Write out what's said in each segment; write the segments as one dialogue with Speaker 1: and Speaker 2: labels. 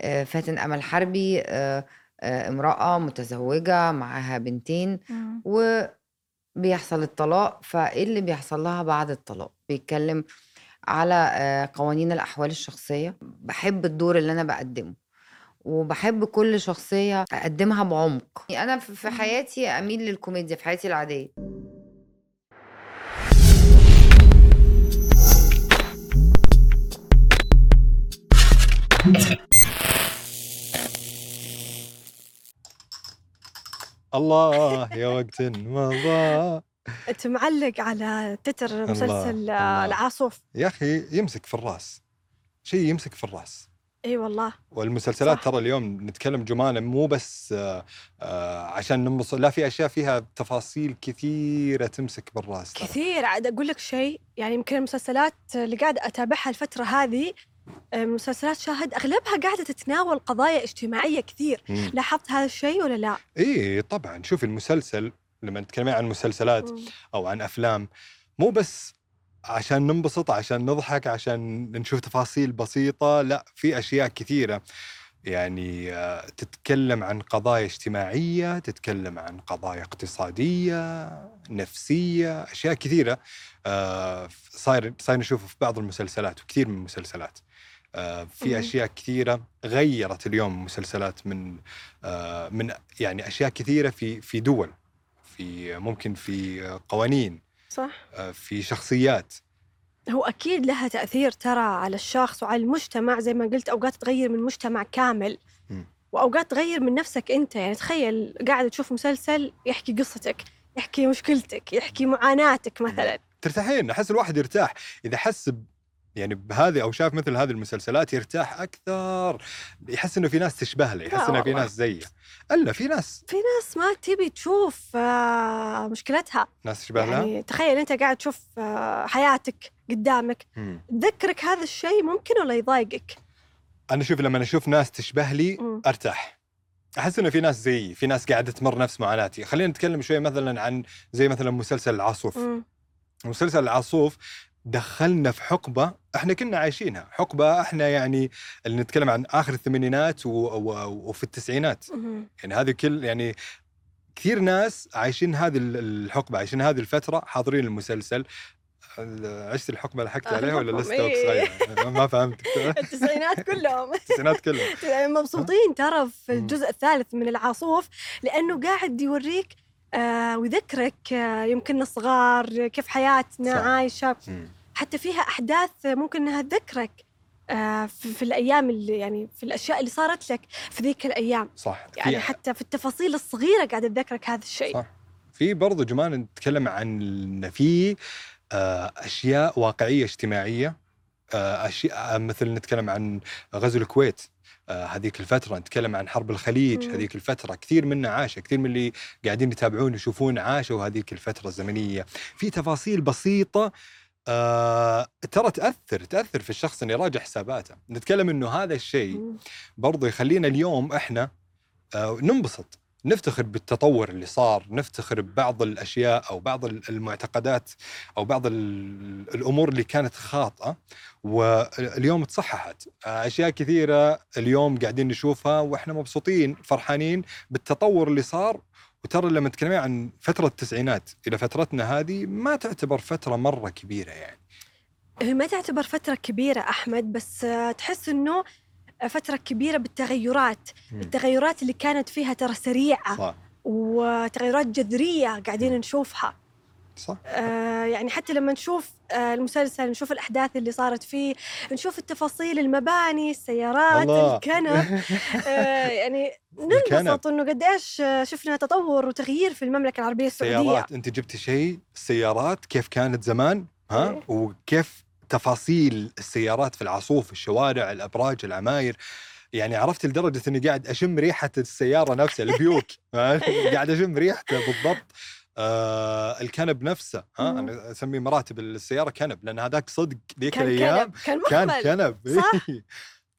Speaker 1: آآ آه، فاتن أمل حربي آآ آآ امرأة متزوجة معاها بنتين
Speaker 2: إمم.
Speaker 1: وبيحصل الطلاق، فإيه اللي بيحصل لها بعد الطلاق، بيتكلّم على آآ قوانين الأحوال الشخصية، باحب الدور اللي أنا باقدّمه، وباحب كل شخصية أقدّمها بعمق. أنا ف في
Speaker 2: إمم.
Speaker 1: حياتي أميل للكوميديا، في حياتي العادية.
Speaker 3: الله يا وقتٍ مضى
Speaker 2: أنت معلّق على تتر
Speaker 3: الله،
Speaker 2: مسلسل آه،
Speaker 3: الله.
Speaker 2: العاصف.
Speaker 3: يا أخي يمسك في الراس، شيء يمسك في الراس.
Speaker 2: أي والله.
Speaker 3: والمسلسلات
Speaker 2: صح.
Speaker 3: ترى اليوم نتكلّم جمانة مو بس آآ عشان ننبسط، لا في أشياء فيها تفاصيل كثيرة تمسك بالراس ترى.
Speaker 2: كثير، عاد أقول لك شيء، يعني يمكن المسلسلات اللي قاعدة أتابعها الفترة هذه آآ مسلسلات شاهد أغلبها قاعدة تتناول قضايا اجتماعية كتير،
Speaker 3: إمم.
Speaker 2: لاحظت هذا الشيء والّا لأ؟
Speaker 3: إيه طبعًا، شوفي المسلسل لمّا تتكلّمين عن مسلسلات
Speaker 2: إمم.
Speaker 3: أو عن أفلام، مو بس عشان ننبسط، عشان نضحك، عشان نشوف تفاصيل بسيطة، لأ في أشياء كثيرة. يعني تتكلّم عن قضايا اجتماعية، تتكلّم عن قضايا اقتصادية، نفسية، أشياء كثيرة آآ ف صاير صاير نشوفه في بعض المسلسلات وكثير من المسلسلات. آآ في
Speaker 2: إمم.
Speaker 3: أشياء كثيرة غيّرت اليوم المسلسلات من آآ من يعني أشياء كثيرة في في دول، في ممكن في قوانين،
Speaker 2: صح.
Speaker 3: آآ آه، في شخصيات.
Speaker 2: هو أكيد لها تأثير ترى على الشخص وعلى المجتمع زي ما قلت أوقات تغيّر من مجتمع كامل،
Speaker 3: إمم.
Speaker 2: وأوقات تغيّر من نفسك أنت، يعني تخيّل قاعد تشوف مسلسل يحكي قصتك، يحكي مشكلتك، يحكي معاناتك مثلًا.
Speaker 3: ترتاحين، أحس الواحد يرتاح إذا حس ب يعني بهذه أو شاف مثل هذه المسلسلات يرتاح أكثر، يحس إنه في ناس تشبه له،
Speaker 2: لا
Speaker 3: يحس إنه في
Speaker 2: والله.
Speaker 3: ناس زيه. ألا في ناس،
Speaker 2: في ناس ما تبي تشوف آآ مشكلتها،
Speaker 3: ناس تشبه لها؟
Speaker 2: يعني تخيّل أنت قاعد تشوف آآ حياتك قدّامك،
Speaker 3: إمم.
Speaker 2: تذكرك هذا الشيء ممكن والّا يضايقك؟
Speaker 3: أنا شوف لمّا أشوف ناس تشبه لي
Speaker 2: إمم.
Speaker 3: أرتاح. أحس إنه في ناس زيي، في ناس قاعدة تمر نفس معاناتي. خلّينا نتكلّم شوي مثلًا عن زي مثلًا مسلسل العاصوف.
Speaker 2: إمم.
Speaker 3: مسلسل العاصوف دخّلنا في حقبة إحنا كنا عايشينها، حقبة إحنا يعني اللي نتكلّم عن آخر الثمانينات و و وفي التسعينات.
Speaker 2: اهم.
Speaker 3: يعني هذه كل يعني كثير ناس عايشين هذه ال الحقبة، عايشين هذه الفترة، حاضرين المسلسل. ال عِشت الحقبة لحقت عليها والّا لسه توك
Speaker 2: إيه.
Speaker 3: صغيرة؟ ما فهمتِك
Speaker 2: التسعينات كلهم. يعني
Speaker 3: التسعينات كلها.
Speaker 2: مبسوطين ترى في
Speaker 3: إمم.
Speaker 2: الجزء الثالث من العاصوف لأنه قاعد يوريك آآ ويذكرك آآ يمكننا صغار، كيف حياتنا
Speaker 3: صح.
Speaker 2: عايشة،
Speaker 3: إمم.
Speaker 2: حتى فيها أحداث ممكن إنها تذكرك آآ في في الأيام اللي يعني في الأشياء اللي صارت لك في ذيك الأيام،
Speaker 3: صح،
Speaker 2: يعني
Speaker 3: في
Speaker 2: حتى في التفاصيل الصغيرة قاعدة تذكرك هذا الشيء.
Speaker 3: صح. في برضه جمان نتكلم عن إن في آآ أشياء واقعية اجتماعية، آآ أشياء آه، مثل نتكلم عن غزو الكويت، آآ هذيك الفترة، نتكلم عن حرب الخليج
Speaker 2: إمم.
Speaker 3: هذيك الفترة، كثير منا عاش، كثير من اللي قاعدين يتابعون يشوفون عاشوا هذيك الفترة الزمنية. في تفاصيل بسيطة آآ ترى تأثّر، تأثّر في الشخص إنه يراجع حساباته. نتكلم إنه هذا الشيء
Speaker 2: إمم.
Speaker 3: برضه يخلّينا اليوم إحنا آآ ننبسط، نفتخر بالتطور اللي صار، نفتخر ببعض الأشياء أو بعض ال المعتقدات أو بعض ال الأمور اللي كانت خاطئة واليوم اتصححت. آآ أشياء كثيرة اليوم قاعدين نشوفها وإحنا مبسوطين، فرحانين بالتطور اللي صار، وترى لمّا تتكلمين عن فترة التسعينات إلى فترتنا هذه ما تعتبر فترة مرة كبيرة يعني.
Speaker 2: هي ما تعتبر فترة كبيرة أحمد، بس تحس إنه فترة كبيرة بالتغيرات،
Speaker 3: إمم.
Speaker 2: التغيرات اللي كانت فيها ترى سريعة
Speaker 3: صح،
Speaker 2: وتغيرات جذرية قاعدين
Speaker 3: إمم.
Speaker 2: نشوفها،
Speaker 3: صح.
Speaker 2: آآ يعني حتى لما نشوف آآ المسلسل، نشوف الأحداث اللي صارت فيه، نشوف التفاصيل، المباني، السيارات،
Speaker 3: الله.
Speaker 2: الكنب، آآ يعني
Speaker 3: الكنب.
Speaker 2: ننبسط إنه قد إيش شفنا تطور وتغيير في المملكة العربية السعودية.
Speaker 3: سيارات انت جبت شيء السيارات كيف كانت زمان ها
Speaker 2: إيه.
Speaker 3: وكيف تفاصيل السيارات في العاصوف الشوارع الابراج العماير يعني عرفت لدرجه اني قاعد اشم ريحه السياره نفسها البيوك ها؟ قاعد اشم ريحته بالضبط آه الكنب نفسه ها
Speaker 2: مم.
Speaker 3: انا اسميه مراتب السياره كنب لان هذاك صدق ذيك
Speaker 2: كان
Speaker 3: الايام
Speaker 2: كنب، كان
Speaker 3: كان
Speaker 2: مهمل
Speaker 3: كنب
Speaker 2: صح.
Speaker 3: إيه.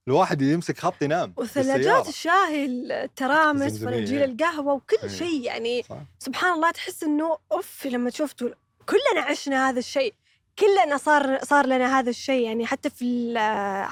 Speaker 3: الواحد يمسك خط ينام
Speaker 2: وثلاجات
Speaker 3: بالسيارة.
Speaker 2: الشاهي، الترامس،
Speaker 3: الزمزمية،
Speaker 2: مناديل
Speaker 3: إيه.
Speaker 2: القهوة وكل
Speaker 3: إيه.
Speaker 2: شيء يعني
Speaker 3: صح.
Speaker 2: سبحان الله تحس إنه أوف لما تشوف تقول كلنا عشنا هذا الشيء، كلنا صار صار لنا هذا الشيء يعني حتى في ال-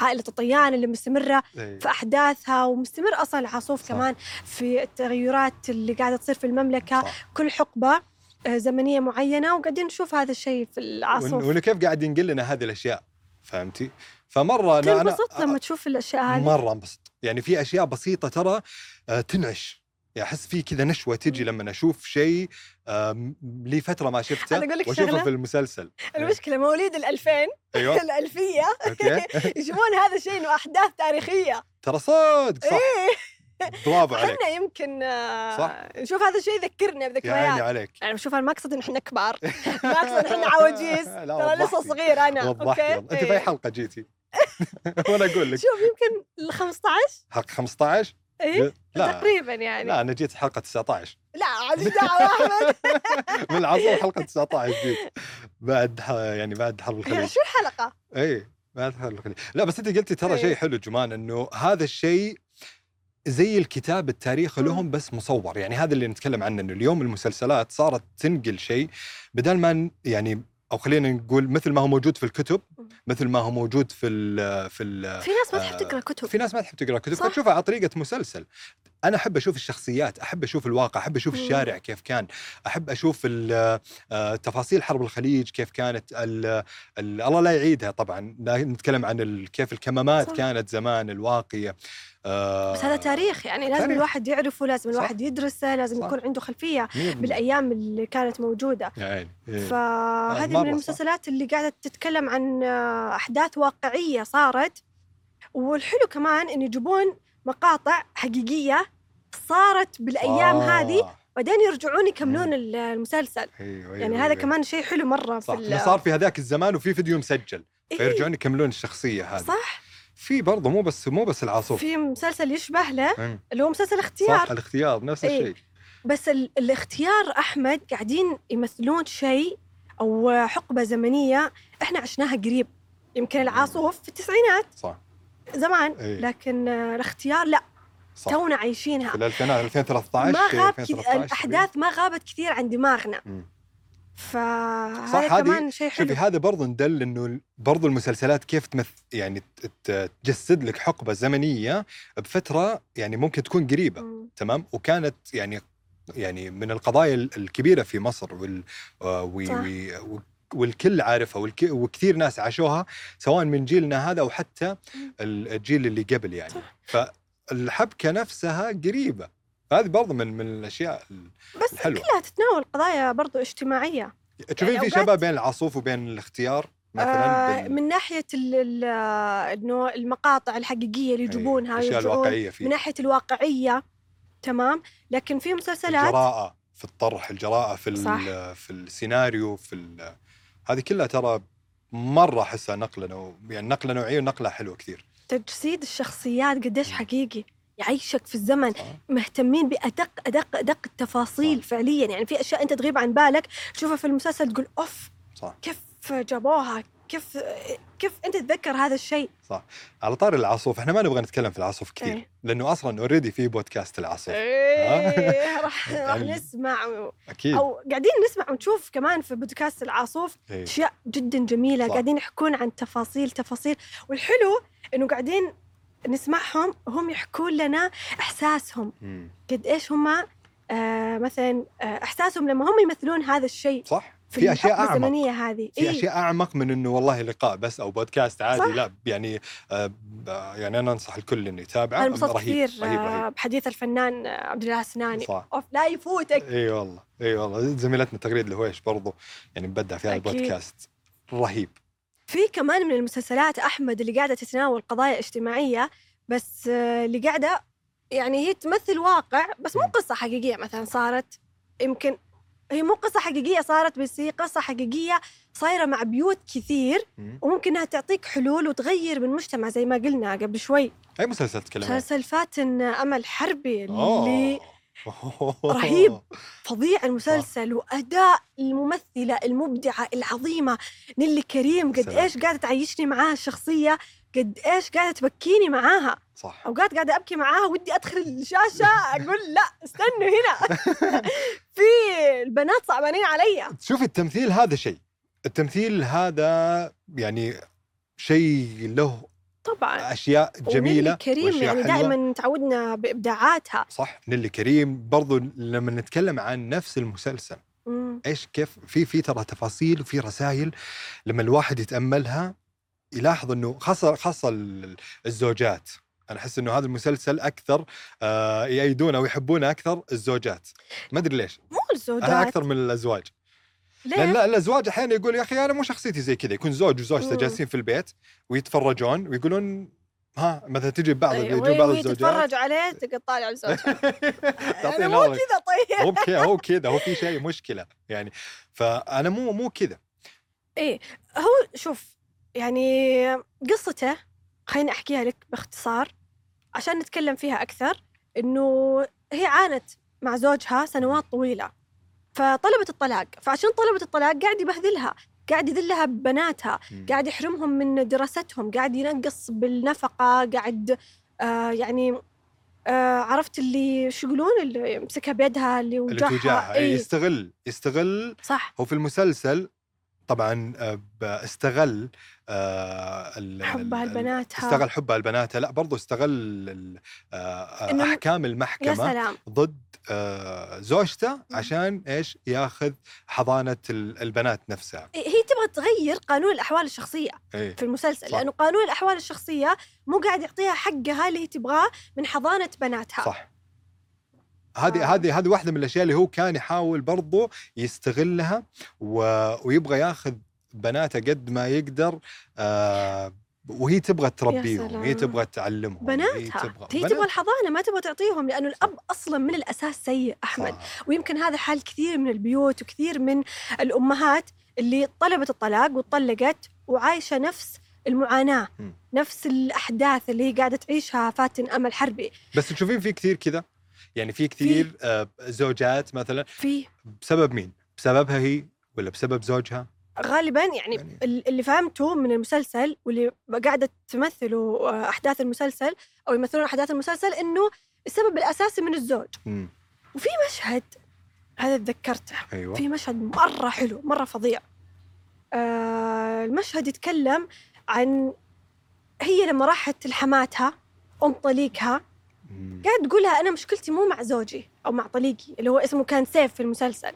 Speaker 2: عائله الطيان اللي مستمره
Speaker 3: إيه.
Speaker 2: في احداثها ومستمر اصلا العاصوف
Speaker 3: صح.
Speaker 2: كمان في التغيرات اللي قاعده تصير في المملكه
Speaker 3: صح.
Speaker 2: كل حقبه آه، زمنيه معينه وقاعدين نشوف هذا الشيء في
Speaker 3: وإن-
Speaker 2: العاصوف
Speaker 3: وانه كيف قاعد ينقل لنا هذه الاشياء فهمتي؟ فمره انا انا
Speaker 2: تنبسط لما تشوف الاشياء هذه
Speaker 3: مره انبسط آه، يعني في اشياء بسيطه ترى آه، تنعش يعني احس في كذا نشوه تجي لما اشوف شيء آم، لي فتره ما شفته
Speaker 2: أنا أقول لك
Speaker 3: واشوفه
Speaker 2: شغلة.
Speaker 3: في المسلسل
Speaker 2: المشكله مواليد ال2000
Speaker 3: ايوه
Speaker 2: الالفيه
Speaker 3: اوكي
Speaker 2: يشوفون هذا الشيء انه احداث تاريخيه
Speaker 3: ترى صادق صح
Speaker 2: ايه
Speaker 3: برافو عليك
Speaker 2: احنا يمكن آه،
Speaker 3: صح. يعني.
Speaker 2: نشوف هذا الشيء يذكرنا
Speaker 3: يا عيني
Speaker 2: بذكريات
Speaker 3: عليك
Speaker 2: انا بشوف انا ما اقصد ان احنا كبار ما اقصد ان احنا عواجيز
Speaker 3: لا،
Speaker 2: ترى لسه
Speaker 3: وضحتي.
Speaker 2: صغير انا
Speaker 3: وضحت
Speaker 2: اوكي
Speaker 3: انت في اي
Speaker 2: إيه.
Speaker 3: حلقه جيتي وانا اقول لك
Speaker 2: شوف يمكن ال 15
Speaker 3: حق 15
Speaker 2: اي
Speaker 3: لا
Speaker 2: تقريبا يعني
Speaker 3: لا انا جيت حلقه 19
Speaker 2: لا عاد دعوه احمد
Speaker 3: من العصر حلقه 19 جيت بعد ح- يعني بعد حرب
Speaker 2: يعني
Speaker 3: الخليج
Speaker 2: شو الحلقه؟
Speaker 3: اي بعد حرب الخليج لا بس انت قلتي ترى
Speaker 2: إيه.
Speaker 3: شيء حلو جمان انه هذا الشيء زي الكتاب التاريخي
Speaker 2: مم.
Speaker 3: لهم بس مصور يعني هذا اللي نتكلم عنه انه اليوم المسلسلات صارت تنقل شيء بدل ما ن- يعني او خلينا نقول مثل ما هو موجود في الكتب
Speaker 2: مم.
Speaker 3: مثل ما هو موجود في ال في ال
Speaker 2: في ناس ما
Speaker 3: آه،
Speaker 2: تحب تقرا كتب
Speaker 3: في ناس ما تحب تقرا كتب
Speaker 2: صح.
Speaker 3: فتشوفها على طريقه مسلسل انا احب اشوف الشخصيات احب اشوف الواقع احب اشوف
Speaker 2: مم.
Speaker 3: الشارع كيف كان احب اشوف ال- آه، تفاصيل حرب الخليج كيف كانت ال ال الله لا يعيدها طبعا لا نتكلم عن ال- كيف الكمامات
Speaker 2: صح.
Speaker 3: صح. كانت زمان الواقيه آه،
Speaker 2: بس هذا تاريخ يعني لازم
Speaker 3: تاريخ.
Speaker 2: الواحد يعرفه لازم
Speaker 3: صح.
Speaker 2: الواحد يدرسه لازم
Speaker 3: صح.
Speaker 2: يكون عنده خلفيه
Speaker 3: مين-
Speaker 2: بالايام اللي كانت موجوده
Speaker 3: يا عيني. إيه.
Speaker 2: فهذه
Speaker 3: مرة
Speaker 2: من
Speaker 3: صح.
Speaker 2: المسلسلات اللي قاعدة تتكلم عن آه، أحداث واقعية صارت والحلو كمان إن يجيبون مقاطع حقيقية صارت بالأيام
Speaker 3: آه.
Speaker 2: هذه بعدين يرجعون يكملون
Speaker 3: مم.
Speaker 2: ال- المسلسل
Speaker 3: أيوة،
Speaker 2: يعني
Speaker 3: أيوة،
Speaker 2: هذا
Speaker 3: أيوة.
Speaker 2: كمان شيء حلو مرة
Speaker 3: صح
Speaker 2: في
Speaker 3: إنه
Speaker 2: ال-
Speaker 3: صار في هذاك الزمان وفي فيديو مسجل
Speaker 2: إيه،
Speaker 3: فيرجعون يكملون الشخصيه هذه
Speaker 2: صح
Speaker 3: في برضه مو بس مو بس العاصفه
Speaker 2: في مسلسل يشبه له
Speaker 3: مم.
Speaker 2: اللي هو مسلسل
Speaker 3: صح
Speaker 2: اختيار
Speaker 3: الاختيار نفس
Speaker 2: إيه.
Speaker 3: الشيء
Speaker 2: بس ال- الاختيار أحمد قاعدين يمثلون شيء أو حقبة زمنية إحنا عشناها قريب يمكن العاصوف في التسعينات
Speaker 3: صح
Speaker 2: زمان
Speaker 3: إيه.
Speaker 2: لكن آه، الاختيار لا
Speaker 3: صح
Speaker 2: تونا
Speaker 3: في
Speaker 2: عايشينها
Speaker 3: الألفينات 2013
Speaker 2: ما غاب كث-
Speaker 3: 2013
Speaker 2: الاحداث ما غابت كثير عن دماغنا
Speaker 3: مم.
Speaker 2: فهذا
Speaker 3: صح، هذه-
Speaker 2: كمان شيء
Speaker 3: شوفي
Speaker 2: حلو
Speaker 3: هذا برضه ندل انه ال- برضه المسلسلات كيف تمثل يعني ت- ت- تجسد لك حقبه زمنيه بفتره يعني ممكن تكون قريبه
Speaker 2: مم.
Speaker 3: تمام وكانت يعني يعني من القضايا ال- الكبيره في مصر وال آه، وي-
Speaker 2: صح.
Speaker 3: وي- و- والكل عارفها والك- وكثير ناس عاشوها سواء من جيلنا هذا او حتى
Speaker 2: مم.
Speaker 3: ال- الجيل اللي قبل يعني
Speaker 2: صح.
Speaker 3: فالحبكه نفسها قريبه هذه برضه من من الاشياء ال-
Speaker 2: بس
Speaker 3: الحلوة.
Speaker 2: كلها تتناول قضايا برضو اجتماعيه
Speaker 3: تشوفين في
Speaker 2: يعني أوقات-
Speaker 3: شباب بين العاصوف وبين الاختيار مثلا
Speaker 2: آه
Speaker 3: بال-
Speaker 2: من ناحيه ال- ال- آه، انه المقاطع الحقيقيه اللي
Speaker 3: أي،
Speaker 2: يجيبونها
Speaker 3: الاشياء
Speaker 2: يرجعون
Speaker 3: الواقعيه إيه، في
Speaker 2: من ناحيه الواقعيه تمام لكن في مسلسلات
Speaker 3: الجراءه في الطرح الجراءه في
Speaker 2: صح.
Speaker 3: ال- في السيناريو في ال- هذه كلها ترى مره احسها نقله نو... يعني نقله نوعيه ونقله حلوه كثير
Speaker 2: تجسيد الشخصيات قديش
Speaker 3: مم.
Speaker 2: حقيقي يعيشك في الزمن
Speaker 3: صح؟
Speaker 2: مهتمين بادق ادق ادق التفاصيل
Speaker 3: صح.
Speaker 2: فعليا يعني في اشياء انت تغيب عن بالك تشوفها في المسلسل تقول اوف
Speaker 3: صح
Speaker 2: كيف جابوها كيف كيف انت تتذكر هذا الشيء
Speaker 3: على طار العاصوف احنا ما نبغى نتكلم في العاصوف كثير
Speaker 2: إيه.
Speaker 3: لانه اصلا اوريدي في بودكاست العاصوف
Speaker 2: إيه، راح راح
Speaker 3: يعني-
Speaker 2: نسمع و-
Speaker 3: اكيد
Speaker 2: او قاعدين نسمع ونشوف كمان في بودكاست العاصوف
Speaker 3: إيه.
Speaker 2: اشياء جدا جميله
Speaker 3: صح.
Speaker 2: قاعدين يحكون عن تفاصيل تفاصيل والحلو انه قاعدين نسمعهم هم يحكون لنا احساسهم
Speaker 3: مم.
Speaker 2: قد ايش هم آه مثلا آه احساسهم لما هم يمثلون هذا الشيء
Speaker 3: صح
Speaker 2: في,
Speaker 3: في اشياء
Speaker 2: الحقبة
Speaker 3: اعمق
Speaker 2: الزمنيه هذه إيه،
Speaker 3: في اشياء اعمق من انه والله لقاء بس او بودكاست عادي
Speaker 2: صح.
Speaker 3: لا يعني آه ب- يعني انا انصح الكل انه يتابعه
Speaker 2: انا انبسطت
Speaker 3: رهيب
Speaker 2: كثير
Speaker 3: رهيب
Speaker 2: آه،
Speaker 3: رهيب
Speaker 2: بحديث الفنان آه، عبد الله سناني
Speaker 3: صح
Speaker 2: اوف لا يفوتك
Speaker 3: اي والله اي والله زميلتنا تغريد الهويش برضو يعني مبدع في هذا
Speaker 2: أكيد.
Speaker 3: البودكاست رهيب
Speaker 2: في كمان من المسلسلات احمد اللي قاعده تتناول قضايا اجتماعيه بس آه، اللي قاعده يعني هي تمثل واقع بس مو
Speaker 3: مم.
Speaker 2: قصه حقيقيه مثلا صارت يمكن هي مو قصه حقيقيه صارت بس هي قصه حقيقيه صايره مع بيوت كثير
Speaker 3: مم.
Speaker 2: وممكن انها تعطيك حلول وتغير من المجتمع زي ما قلنا قبل شوي
Speaker 3: اي مسلسل تتكلم عنه؟
Speaker 2: مسلسل فاتن امل حربي اللي
Speaker 3: أوه.
Speaker 2: رهيب. فظيع المسلسل واداء الممثله المبدعه العظيمه نيلي كريم قد
Speaker 3: سلام.
Speaker 2: ايش قاعده تعيشني معاها الشخصيه قد ايش قاعده تبكيني معاها
Speaker 3: صح
Speaker 2: اوقات قاعده ابكي معاها ودي ادخل الشاشه اقول لا استنوا هنا في البنات صعبانين علي
Speaker 3: شوفي التمثيل هذا شيء التمثيل هذا يعني شيء له
Speaker 2: طبعا
Speaker 3: اشياء جميله
Speaker 2: ونيلي كريم
Speaker 3: وأشياء
Speaker 2: يعني
Speaker 3: حلوة.
Speaker 2: دائما تعودنا بابداعاتها
Speaker 3: صح نيلي كريم برضو لما نتكلم عن نفس المسلسل
Speaker 2: مم.
Speaker 3: ايش كيف في في ترى تفاصيل وفي رسائل لما الواحد يتاملها يلاحظ انه خاصه خاصه ال- الزوجات انا احس انه هذا المسلسل اكثر آه، يأيدونه ويحبونه اكثر الزوجات ما ادري ليش
Speaker 2: مو
Speaker 3: انا
Speaker 2: الزوجات
Speaker 3: اكثر من الازواج
Speaker 2: ليه؟
Speaker 3: لان لا الازواج احيانا يقول يا اخي انا مو شخصيتي زي كذا يكون زوج وزوجته
Speaker 2: مم.
Speaker 3: جالسين في البيت ويتفرجون ويقولون ها مثلا تجي بعض
Speaker 2: طيب،
Speaker 3: يجوا
Speaker 2: وي-
Speaker 3: بعض
Speaker 2: وي
Speaker 3: الزوجات
Speaker 2: تتفرج عليه تقعد طالع لزوجها
Speaker 3: تعطيه
Speaker 2: انا مو
Speaker 3: نظرك.
Speaker 2: كذا طيب
Speaker 3: هو بكذا هو كذا هو في شيء مشكله يعني فانا مو مو كذا
Speaker 2: هو شوف يعني قصته خليني احكيها لك باختصار عشان نتكلم فيها اكثر انه هي عانت مع زوجها سنوات طويله فطلبت الطلاق فعشان طلبت الطلاق قاعد يبهذلها قاعد يذلها ببناتها
Speaker 3: مم.
Speaker 2: قاعد يحرمهم من دراستهم قاعد ينقص بالنفقة قاعد آه يعني آه عرفت اللي شو يقولون اللي يمسكها بيدها اللي
Speaker 3: اللي
Speaker 2: وجعها
Speaker 3: تجاهها
Speaker 2: إيه،
Speaker 3: يعني يستغل يستغل
Speaker 2: صح
Speaker 3: هو في المسلسل طبعا آه، ب- استغل آه، ال- ال-
Speaker 2: حبها
Speaker 3: ال-
Speaker 2: لبناتها
Speaker 3: استغل حبها لبناتها لا برضو استغل ال- آه، آه،
Speaker 2: إنه-
Speaker 3: احكام
Speaker 2: يا
Speaker 3: المحكمه
Speaker 2: سلام
Speaker 3: ضد آه، زوجته عشان ايش ياخذ حضانه ال- البنات نفسها
Speaker 2: إيه، هي تبغى تغير قانون الأحوال الشخصية
Speaker 3: إيه.
Speaker 2: في المسلسل
Speaker 3: صح.
Speaker 2: لأنه قانون الأحوال الشخصية مو قاعد يعطيها حقها اللي هي تبغاه من حضانة بناتها
Speaker 3: صح هذه
Speaker 2: آه.
Speaker 3: هذه هذه واحده من الاشياء اللي هو كان يحاول برضه يستغلها و... ويبغى ياخذ بناته قد ما يقدر آه وهي تبغى تربيهم
Speaker 2: سلام.
Speaker 3: هي تبغى تعلمهم هي
Speaker 2: بناتها
Speaker 3: تبغى
Speaker 2: هي تبغى الحضانة ما تبغى تعطيهم لأنه الأب أصلا من الأساس سيء أحمد
Speaker 3: صح.
Speaker 2: ويمكن هذا حال كثير من البيوت وكثير من الأمهات اللي طلبت الطلاق وطلقت وعايشة نفس المعاناة
Speaker 3: م.
Speaker 2: نفس الأحداث اللي هي قاعدة تعيشها فاتن أمل حربي
Speaker 3: بس تشوفين في كثير كذا يعني في كثير آه زوجات مثلا
Speaker 2: في
Speaker 3: بسبب مين؟ بسببها هي ولا بسبب زوجها؟
Speaker 2: غالبا يعني
Speaker 3: يعني-
Speaker 2: ال- اللي فهمته من المسلسل واللي قاعدة تمثله آه، أحداث المسلسل أو يمثلون أحداث المسلسل إنه السبب الأساسي من الزوج
Speaker 3: مم.
Speaker 2: وفي مشهد هذا تذكرته
Speaker 3: ايوه
Speaker 2: في مشهد مرة حلو مرة فظيع آه المشهد يتكلم عن هي لما راحت لحماتها أم طليقها
Speaker 3: مم.
Speaker 2: قاعد تقول لها أنا مشكلتي مو مع زوجي أو مع طليقي اللي هو اسمه كان سيف في المسلسل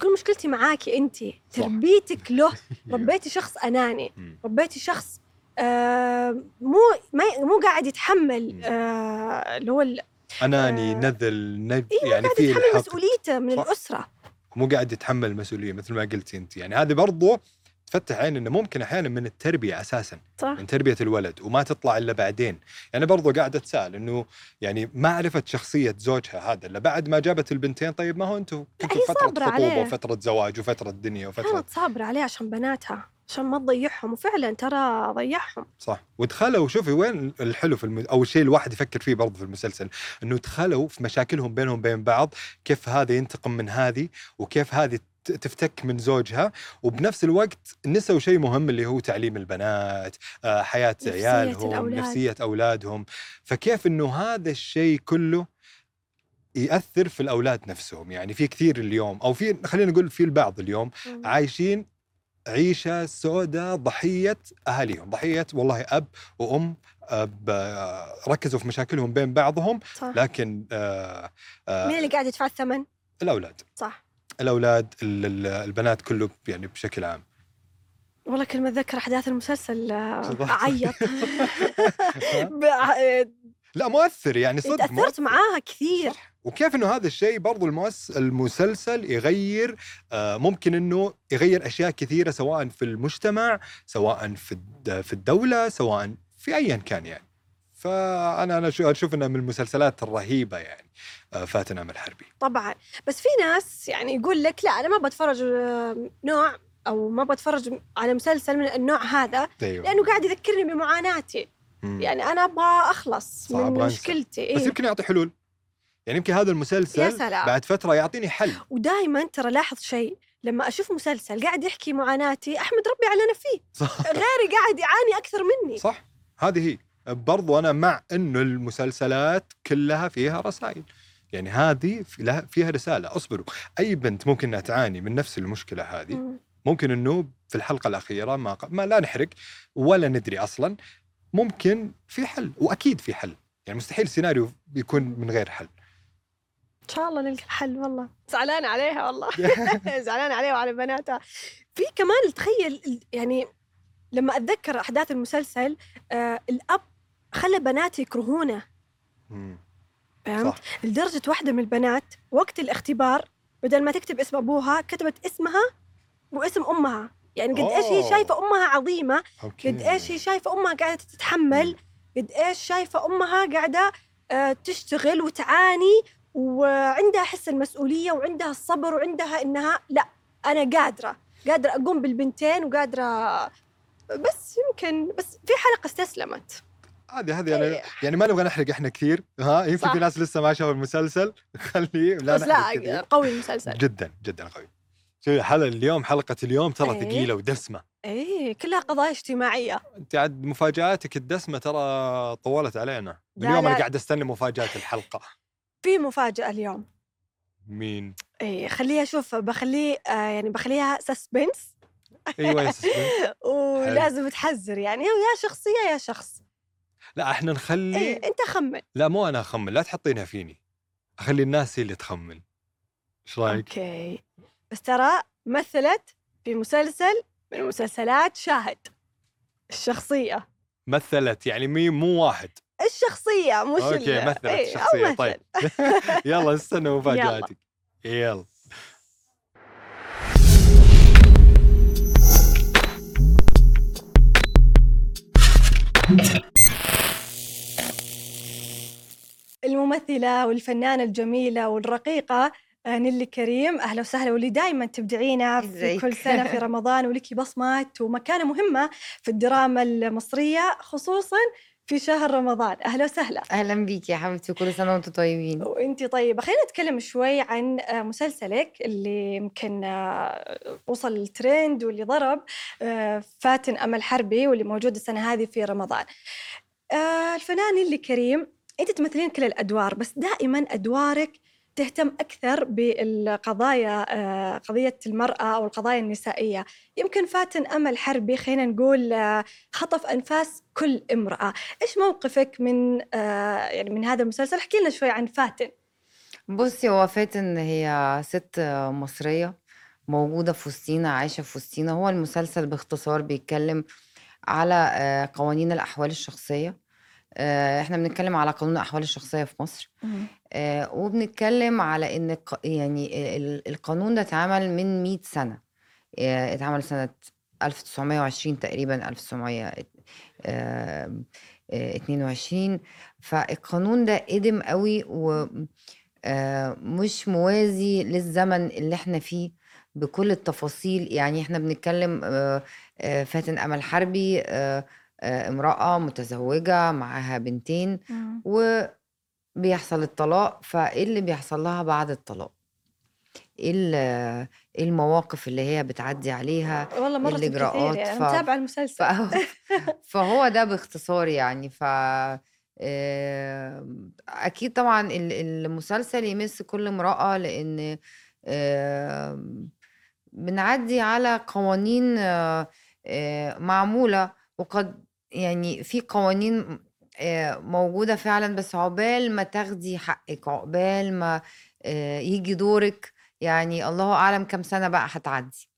Speaker 2: تقول مشكلتي معاكي أنت
Speaker 3: صح.
Speaker 2: تربيتك له
Speaker 3: أيوة.
Speaker 2: ربيتي شخص أناني
Speaker 3: مم.
Speaker 2: ربيتي شخص آه مو ما- مو قاعد يتحمل آه اللي هو ال-
Speaker 3: اناني
Speaker 2: آه.
Speaker 3: يعني نذل نج...
Speaker 2: إيه،
Speaker 3: يعني
Speaker 2: قاعد
Speaker 3: في
Speaker 2: يتحمل
Speaker 3: الحقد.
Speaker 2: مسؤوليته من
Speaker 3: صح.
Speaker 2: الأسرة
Speaker 3: مو قاعد يتحمل مسؤوليه مثل ما قلتي انت يعني هذه برضو تفتح عين انه ممكن احيانا من التربيه اساسا
Speaker 2: صح
Speaker 3: من تربيه الولد وما تطلع الا بعدين يعني برضو قاعد اتساءل انه يعني ما عرفت شخصيه زوجها هذا الا بعد ما جابت البنتين طيب ما هو انتم كنتوا
Speaker 2: هي
Speaker 3: فتره
Speaker 2: صابرة
Speaker 3: خطوبه
Speaker 2: عليه.
Speaker 3: وفتره زواج وفتره دنيا وفتره
Speaker 2: كانت صابرة عليه عشان بناتها عشان ما تضيعهم وفعلا ترى ضيعهم
Speaker 3: صح ودخلوا شوفي وين الحلو في الم... او الشيء الواحد يفكر فيه برضه في المسلسل انه دخلوا في مشاكلهم بينهم بين بعض كيف هذا ينتقم من هذه وكيف هذه ت- تفتك من زوجها وبنفس الوقت نسوا شيء مهم اللي هو تعليم البنات آه، حياة
Speaker 2: نفسية
Speaker 3: عيالهم
Speaker 2: الأولاد.
Speaker 3: نفسية أولادهم فكيف أنه هذا الشيء كله يأثر في الأولاد نفسهم يعني في كثير اليوم أو في خلينا نقول في البعض اليوم عايشين عيشة سوداء ضحية أهاليهم ضحية والله أب وأم أب آه، ركزوا في مشاكلهم بين بعضهم
Speaker 2: صح
Speaker 3: لكن آه،
Speaker 2: مين
Speaker 3: آه،
Speaker 2: اللي قاعد يدفع الثمن؟
Speaker 3: الأولاد
Speaker 2: صح
Speaker 3: الأولاد ال- ال- البنات كله يعني بشكل عام
Speaker 2: والله كل ما اتذكر احداث المسلسل آه،
Speaker 3: بالضبط.
Speaker 2: اعيط بع- آه،
Speaker 3: لا مؤثر يعني صدق
Speaker 2: تاثرت
Speaker 3: مؤثر.
Speaker 2: معاها كثير
Speaker 3: وكيف انه هذا الشيء برضو المؤس المسلسل يغير آه، ممكن انه يغير اشياء كثيره سواء في المجتمع سواء في الد- في الدوله سواء في ايا كان يعني فانا انا أشو- اشوف انها من المسلسلات الرهيبه يعني آه، فاتن امل حربي
Speaker 2: طبعا بس في ناس يعني يقول لك لا انا ما بتفرج آه، نوع او ما بتفرج على مسلسل من النوع هذا
Speaker 3: ايوه
Speaker 2: لانه قاعد يذكرني بمعاناتي
Speaker 3: مم.
Speaker 2: يعني انا ابغى اخلص
Speaker 3: صح، أبغى
Speaker 2: من
Speaker 3: أنسى.
Speaker 2: مشكلتي
Speaker 3: بس
Speaker 2: إيه؟
Speaker 3: يمكن يعطي حلول يعني يمكن هذا
Speaker 2: يا
Speaker 3: المسلسل
Speaker 2: سلام
Speaker 3: بعد فتره يعطيني حل
Speaker 2: ودائما ترى لاحظ شيء لما اشوف مسلسل قاعد يحكي معاناتي احمد ربي على انا فيه
Speaker 3: صح
Speaker 2: غيري قاعد يعاني اكثر مني
Speaker 3: صح هذه هي برضو انا مع انه المسلسلات كلها فيها رسائل يعني هذه في- لها- فيها رساله اصبروا اي بنت ممكن انها تعاني من نفس المشكله هذه
Speaker 2: مم.
Speaker 3: ممكن انه في الحلقه الاخيره ما, ق- ما لا نحرق ولا ندري اصلا ممكن في حل واكيد في حل يعني مستحيل سيناريو يكون من غير حل
Speaker 2: ان شاء الله نلقى الحل والله زعلانه عليها والله زعلانه عليها وعلى بناتها في كمان تخيل ال- يعني لما اتذكر احداث المسلسل آه الاب خلى بناته يكرهونه
Speaker 3: مم.
Speaker 2: فهمت
Speaker 3: صح
Speaker 2: لدرجه واحده من البنات وقت الاختبار بدل ما تكتب اسم ابوها كتبت اسمها واسم امها يعني قد ايش هي
Speaker 3: أوه.
Speaker 2: شايفه امها عظيمه
Speaker 3: اوكي
Speaker 2: قد ايش هي شايفه امها قاعده تتحمل قد ايش شايفه امها قاعده آه، تشتغل وتعاني وعندها حس المسؤوليه وعندها الصبر وعندها انها لا انا قادره قادره اقوم بالبنتين وقادره بس يمكن بس في حلقه استسلمت
Speaker 3: هذه هذه أنا يعني ما نبغى نحرق احنا كثير ها يمكن
Speaker 2: إيه. صح.
Speaker 3: في ناس لسه ما شافوا المسلسل خليه لا
Speaker 2: بس
Speaker 3: نحرق كثير.
Speaker 2: لا قوي المسلسل
Speaker 3: جدا جدا قوي شوفي الحلقه اليوم حلقه اليوم ترى
Speaker 2: إيه.
Speaker 3: ثقيله ودسمه
Speaker 2: ايه كلها قضايا اجتماعيه
Speaker 3: انت عاد مفاجاتك الدسمه ترى طولت علينا من
Speaker 2: لا،
Speaker 3: يوم انا
Speaker 2: لا.
Speaker 3: قاعد استنى مفاجاه الحلقه
Speaker 2: في مفاجاه اليوم
Speaker 3: مين
Speaker 2: ايه خليها اشوف بخليه آه يعني بخليها سسبنس
Speaker 3: ايوه يا سسبن.
Speaker 2: ولازم تحذر يعني يا شخصيه يا شخص
Speaker 3: لا احنا
Speaker 2: ايه
Speaker 3: نخلي
Speaker 2: انت خمن
Speaker 3: لا مو انا اخمن لا تحطينها فيني اخلي الناس هي اللي تخمن ايش رايك
Speaker 2: اوكي بس ترى مثلت في مسلسل من مسلسلات شاهد الشخصية
Speaker 3: مثلت يعني مين مو واحد
Speaker 2: الشخصية مش
Speaker 3: اوكي
Speaker 2: ال-
Speaker 3: مثلت
Speaker 2: إيه، أو
Speaker 3: شخصيه
Speaker 2: مثل.
Speaker 3: طيب يلا استنى مفاجاتك يلا
Speaker 2: الممثلة والفنانة الجميلة والرقيقة آه، نيلي كريم أهلا وسهلا واللي دائما تبدعينا في
Speaker 1: إزيك؟
Speaker 2: كل سنة في رمضان ولك بصمة ومكانة مهمة في الدراما المصرية خصوصا في شهر رمضان أهلا وسهلا
Speaker 1: اهلا بيك يا حبيبتي كل سنه وانتم طيبين
Speaker 2: وانت طيبه طيب، خلينا نتكلم شوي عن آه، مسلسلك اللي يمكن آه، وصل الترند واللي ضرب آه، فاتن امل حربي واللي موجود السنه هذه في رمضان آه، الفنان اللي كريم انت تمثلين كل الادوار بس دائما ادوارك تهتم اكثر بالقضايا آه، قضيه المراه او القضايا النسائيه يمكن فاتن امل حربي خلينا نقول آه، خطف انفاس كل امراه ايش موقفك من آه يعني من هذا المسلسل احكي لنا شوي عن فاتن
Speaker 1: بصي هو فاتن هي ست مصرية موجودة في وسطينا عايشة في وسطينا هو المسلسل باختصار بيتكلم على آه، قوانين الأحوال الشخصية آه، احنا بنتكلم على قانون الأحوال الشخصية في مصر آه، وبنتكلم على إن الق- يعني ال- القانون ده اتعمل من 100 سنة آه، اتعمل سنة 1920 تقريبا آه، 1922 فالقانون ده قدم قوي و آه، مش موازي للزمن اللي احنا فيه بكل التفاصيل يعني احنا بنتكلم آه، آه، فاتن امل حربي آه، آه، امرأة متزوجة معاها بنتين وبيحصل الطلاق فايه اللي بيحصل لها بعد الطلاق ايه ال- إيه المواقف اللي هي بتعدي عليها
Speaker 2: والله مرة كثير
Speaker 1: الإجراءات
Speaker 2: يعني أنا
Speaker 1: ف-
Speaker 2: متابعة المسلسل
Speaker 1: ف- فهو ده باختصار يعني ف آه، اكيد طبعا ال- المسلسل يمس كل امرأة لان آه، بنعدي على قوانين آه، آه، معمولة وقد يعني في قوانين آه، موجودة فعلا بس عقبال ما تاخدي حقك عقبال ما آه، يجي دورك يعني الله اعلم كم سنة بقى هتعدي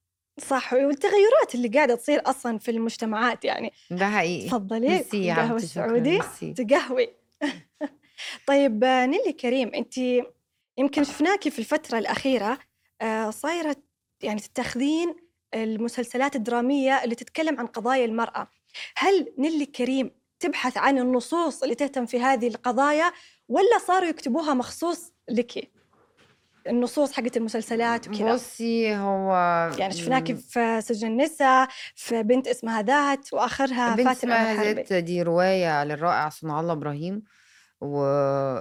Speaker 2: صح والتغيرات اللي قاعدة تصير أصلا في المجتمعات يعني
Speaker 1: ده حقيقي
Speaker 2: تفضلي
Speaker 1: ميرسي يا
Speaker 2: قهوة
Speaker 1: حبيبتي شكرا
Speaker 2: السعودي
Speaker 1: ميرسي.
Speaker 2: تقهوي طيب آه، نيلي كريم أنت يمكن شفناكي في الفترة الأخيرة آه، صايرة يعني تتخذين المسلسلات الدرامية اللي تتكلم عن قضايا المرأة هل نيلي كريم تبحث عن النصوص اللي تهتم في هذه القضايا ولا صاروا يكتبوها مخصوص لك النصوص حقت المسلسلات وكذا
Speaker 1: بصي هو
Speaker 2: يعني شفناكي
Speaker 1: مم،
Speaker 2: في سجن النساء في بنت اسمها ذات واخرها
Speaker 1: بنت
Speaker 2: فاتن
Speaker 1: اسمها
Speaker 2: الحربي
Speaker 1: هالات دي رواية للرائع صنع الله إبراهيم و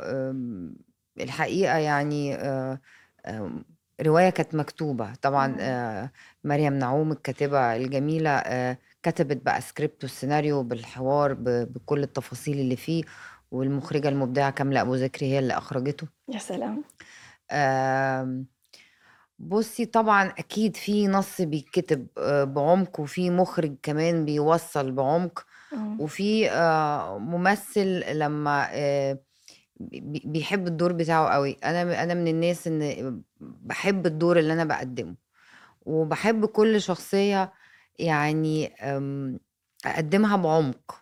Speaker 1: أم، الحقيقة يعني آه، آم، رواية كانت مكتوبة طبعا
Speaker 2: مم.
Speaker 1: آه، مريم نعوم الكاتبة الجميلة آه، كتبت بقى سكريبت والسيناريو بالحوار ب- بكل التفاصيل اللي فيه والمخرجة المبدعة كاملة أبو زكري هي اللي أخرجته
Speaker 2: يا سلام
Speaker 1: آم، بصي طبعا اكيد في نص بيتكتب آه، بعمق وفي مخرج كمان بيوصل بعمق وفي آه، ممثل لما آه، بي- بيحب الدور بتاعه قوي انا انا من الناس ان بحب الدور اللي انا بقدمه وبحب كل شخصية يعني أم، اقدمها بعمق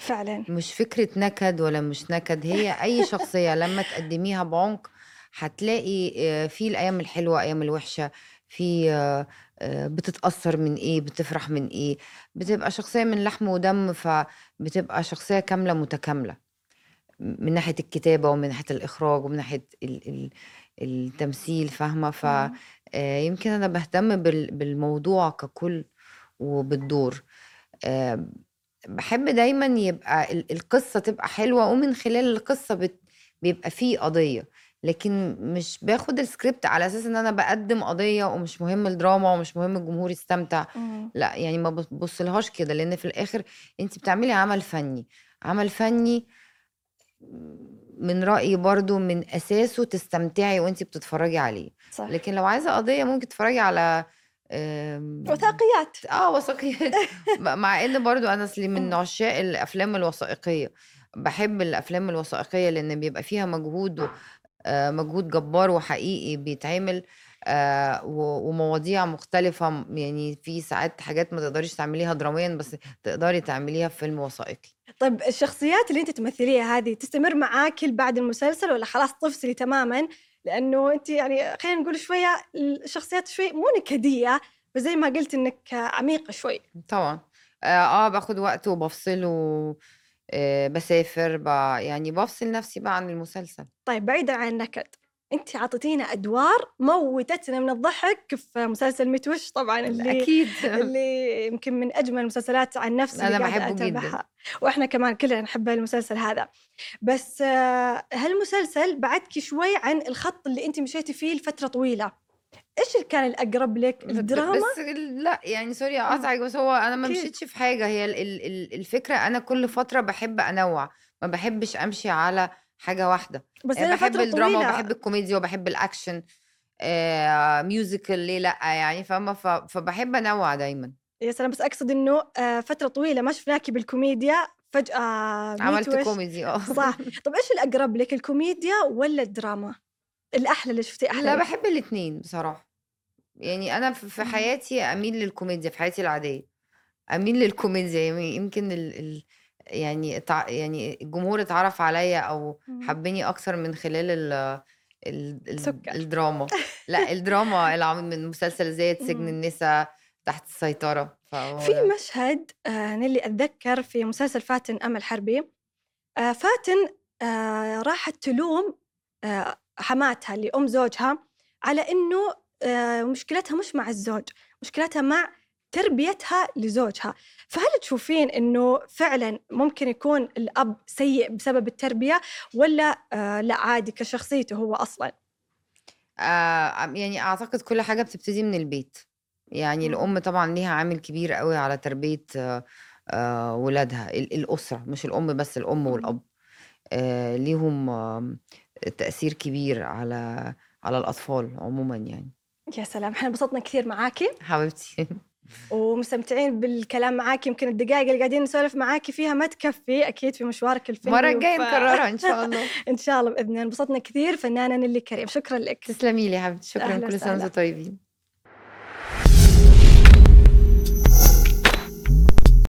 Speaker 4: فعلا
Speaker 1: مش فكرة نكد ولا مش نكد هي أي شخصية لما تقدميها بعمق هتلاقي آه، في الأيام الحلوة أيام الوحشة في آه، آه، بتتأثر من إيه بتفرح من إيه بتبقى شخصية من لحم ودم فبتبقى شخصية كاملة متكاملة من ناحية الكتابة ومن ناحية الإخراج ومن ناحية ال ال التمثيل فاهمة فيمكن آه، أنا بهتم بال- بالموضوع ككل وبالدور آه، بحب دايما يبقى ال- القصة تبقى حلوة ومن خلال القصة بت... بيبقى فيه قضية لكن مش باخد السكريبت على أساس إن أنا بقدم قضية ومش مهم الدراما ومش مهم الجمهور يستمتع
Speaker 4: مم.
Speaker 1: لا يعني ما بتبصلهاش كده لأن في الآخر أنت بتعملي عمل فني عمل فني من رأيي برضو من أساسه تستمتعي وأنت بتتفرجي عليه
Speaker 4: صح
Speaker 1: لكن لو عايزة قضية ممكن تتفرجي على آم،
Speaker 4: وثائقيات
Speaker 1: اه وثائقيات مع ان برضو انا اصلي من
Speaker 4: مم.
Speaker 1: عشاق الافلام الوثائقيه بحب الافلام الوثائقيه لان بيبقى فيها مجهود و- آه، مجهود جبار وحقيقي بيتعمل آه، و- ومواضيع مختلفه م- يعني في ساعات حاجات ما تقدريش تعمليها دراميا بس تقدري تعمليها في فيلم وثائقي
Speaker 2: طيب الشخصيات اللي انت تمثليها هذه تستمر معاك بعد المسلسل ولا خلاص تفصلي تماما لانه انت يعني خلينا نقول شويه الشخصيات شوي مو نكديه بس زي ما قلت انك عميقه شوي
Speaker 1: طبعا اه, آه باخد وقت وبفصله آه بسافر ب... يعني بفصل نفسي بقى عن المسلسل
Speaker 2: طيب بعيدا عن النكد انت عطيتينا ادوار موتتنا من الضحك في مسلسل متوش طبعا اللي
Speaker 1: اكيد
Speaker 2: اللي يمكن من اجمل المسلسلات عن نفسي اللي
Speaker 1: أنا
Speaker 2: قاعدة
Speaker 1: أه. بحبه جداً.
Speaker 2: أتابعها. واحنا كمان كلنا نحب المسلسل هذا بس آه، هالمسلسل بعدك شوي عن الخط اللي انت مشيتي فيه لفتره طويله ايش اللي كان الاقرب لك
Speaker 1: ب- ب-
Speaker 2: الدراما
Speaker 1: بس ال- لا يعني سوري
Speaker 2: آه.
Speaker 1: اقطعك بس هو انا ما
Speaker 2: أكيد.
Speaker 1: مشيتش في حاجه هي ال- ال- ال- الفكره انا كل فتره بحب انوع ما بحبش امشي على حاجه واحده
Speaker 2: بس
Speaker 1: يعني
Speaker 2: انا
Speaker 1: بحب
Speaker 2: فتره
Speaker 1: الدراما
Speaker 2: طويله
Speaker 1: وبحب الكوميديا وبحب الاكشن آه ميوزيكال ليه لا يعني فاهمه ف- فبحب انوع دايما
Speaker 2: يا سلام بس اقصد انه آه، فتره طويله ما شفناكي بالكوميديا فجاه
Speaker 1: عملت
Speaker 2: ميتوش.
Speaker 1: كوميدي اه
Speaker 2: صح طب ايش الاقرب لك الكوميديا ولا الدراما الاحلى اللي شفتي احلى
Speaker 1: لا
Speaker 2: لك؟
Speaker 1: بحب الاتنين بصراحه يعني انا في في
Speaker 2: إمم.
Speaker 4: مم.
Speaker 1: حياتي اميل للكوميديا في حياتي العاديه اميل للكوميديا يعني يمكن ال... ال... يعني اتع... يعني الجمهور اتعرف عليا او
Speaker 2: إمم.
Speaker 1: حبيني اكتر من خلال ال ال ال
Speaker 2: سكر.
Speaker 1: الدراما لا الدراما العم من مسلسل زي سجن
Speaker 2: مم.
Speaker 1: النساء تحت السيطرة فهو
Speaker 2: إمم. في مشهد آه، أنا اللي أتذكر في مسلسل فاتن أمل حربي آه، فاتن آه، راحت تلوم آه، حماتها اللي أم زوجها على إنه آه، مشكلتها مش مع الزوج مشكلتها مع تربيتها لزوجها فهل تشوفين إنه فعلا ممكن يكون الأب سيء بسبب التربية ولا آه، لا عادي كشخصيته هو أصلا
Speaker 1: آه يعني اعتقد كل حاجه بتبتدي من البيت يعني
Speaker 2: مم.
Speaker 1: الام طبعا ليها عامل كبير قوي على تربيه آه آه ولادها ال- الاسره مش الام بس الام والاب آه ليهم آه تاثير كبير على على الاطفال عموما يعني
Speaker 2: يا سلام احنا انبسطنا كثير معاكي
Speaker 1: حبيبتي
Speaker 2: ومستمتعين بالكلام معاك يمكن الدقائق اللي قاعدين نسولف معاك فيها ما تكفي اكيد في مشوارك الفني
Speaker 1: المره الجايه
Speaker 2: وف-
Speaker 1: نكررها ان شاء الله
Speaker 2: ان شاء الله باذن الله انبسطنا كثير فنانه نيلي كريم شكرا لك
Speaker 1: تسلمي لي يا حبيبتي شكرا
Speaker 2: أهلا
Speaker 1: كل سنه
Speaker 2: وسهلا.
Speaker 1: وانتم طيبين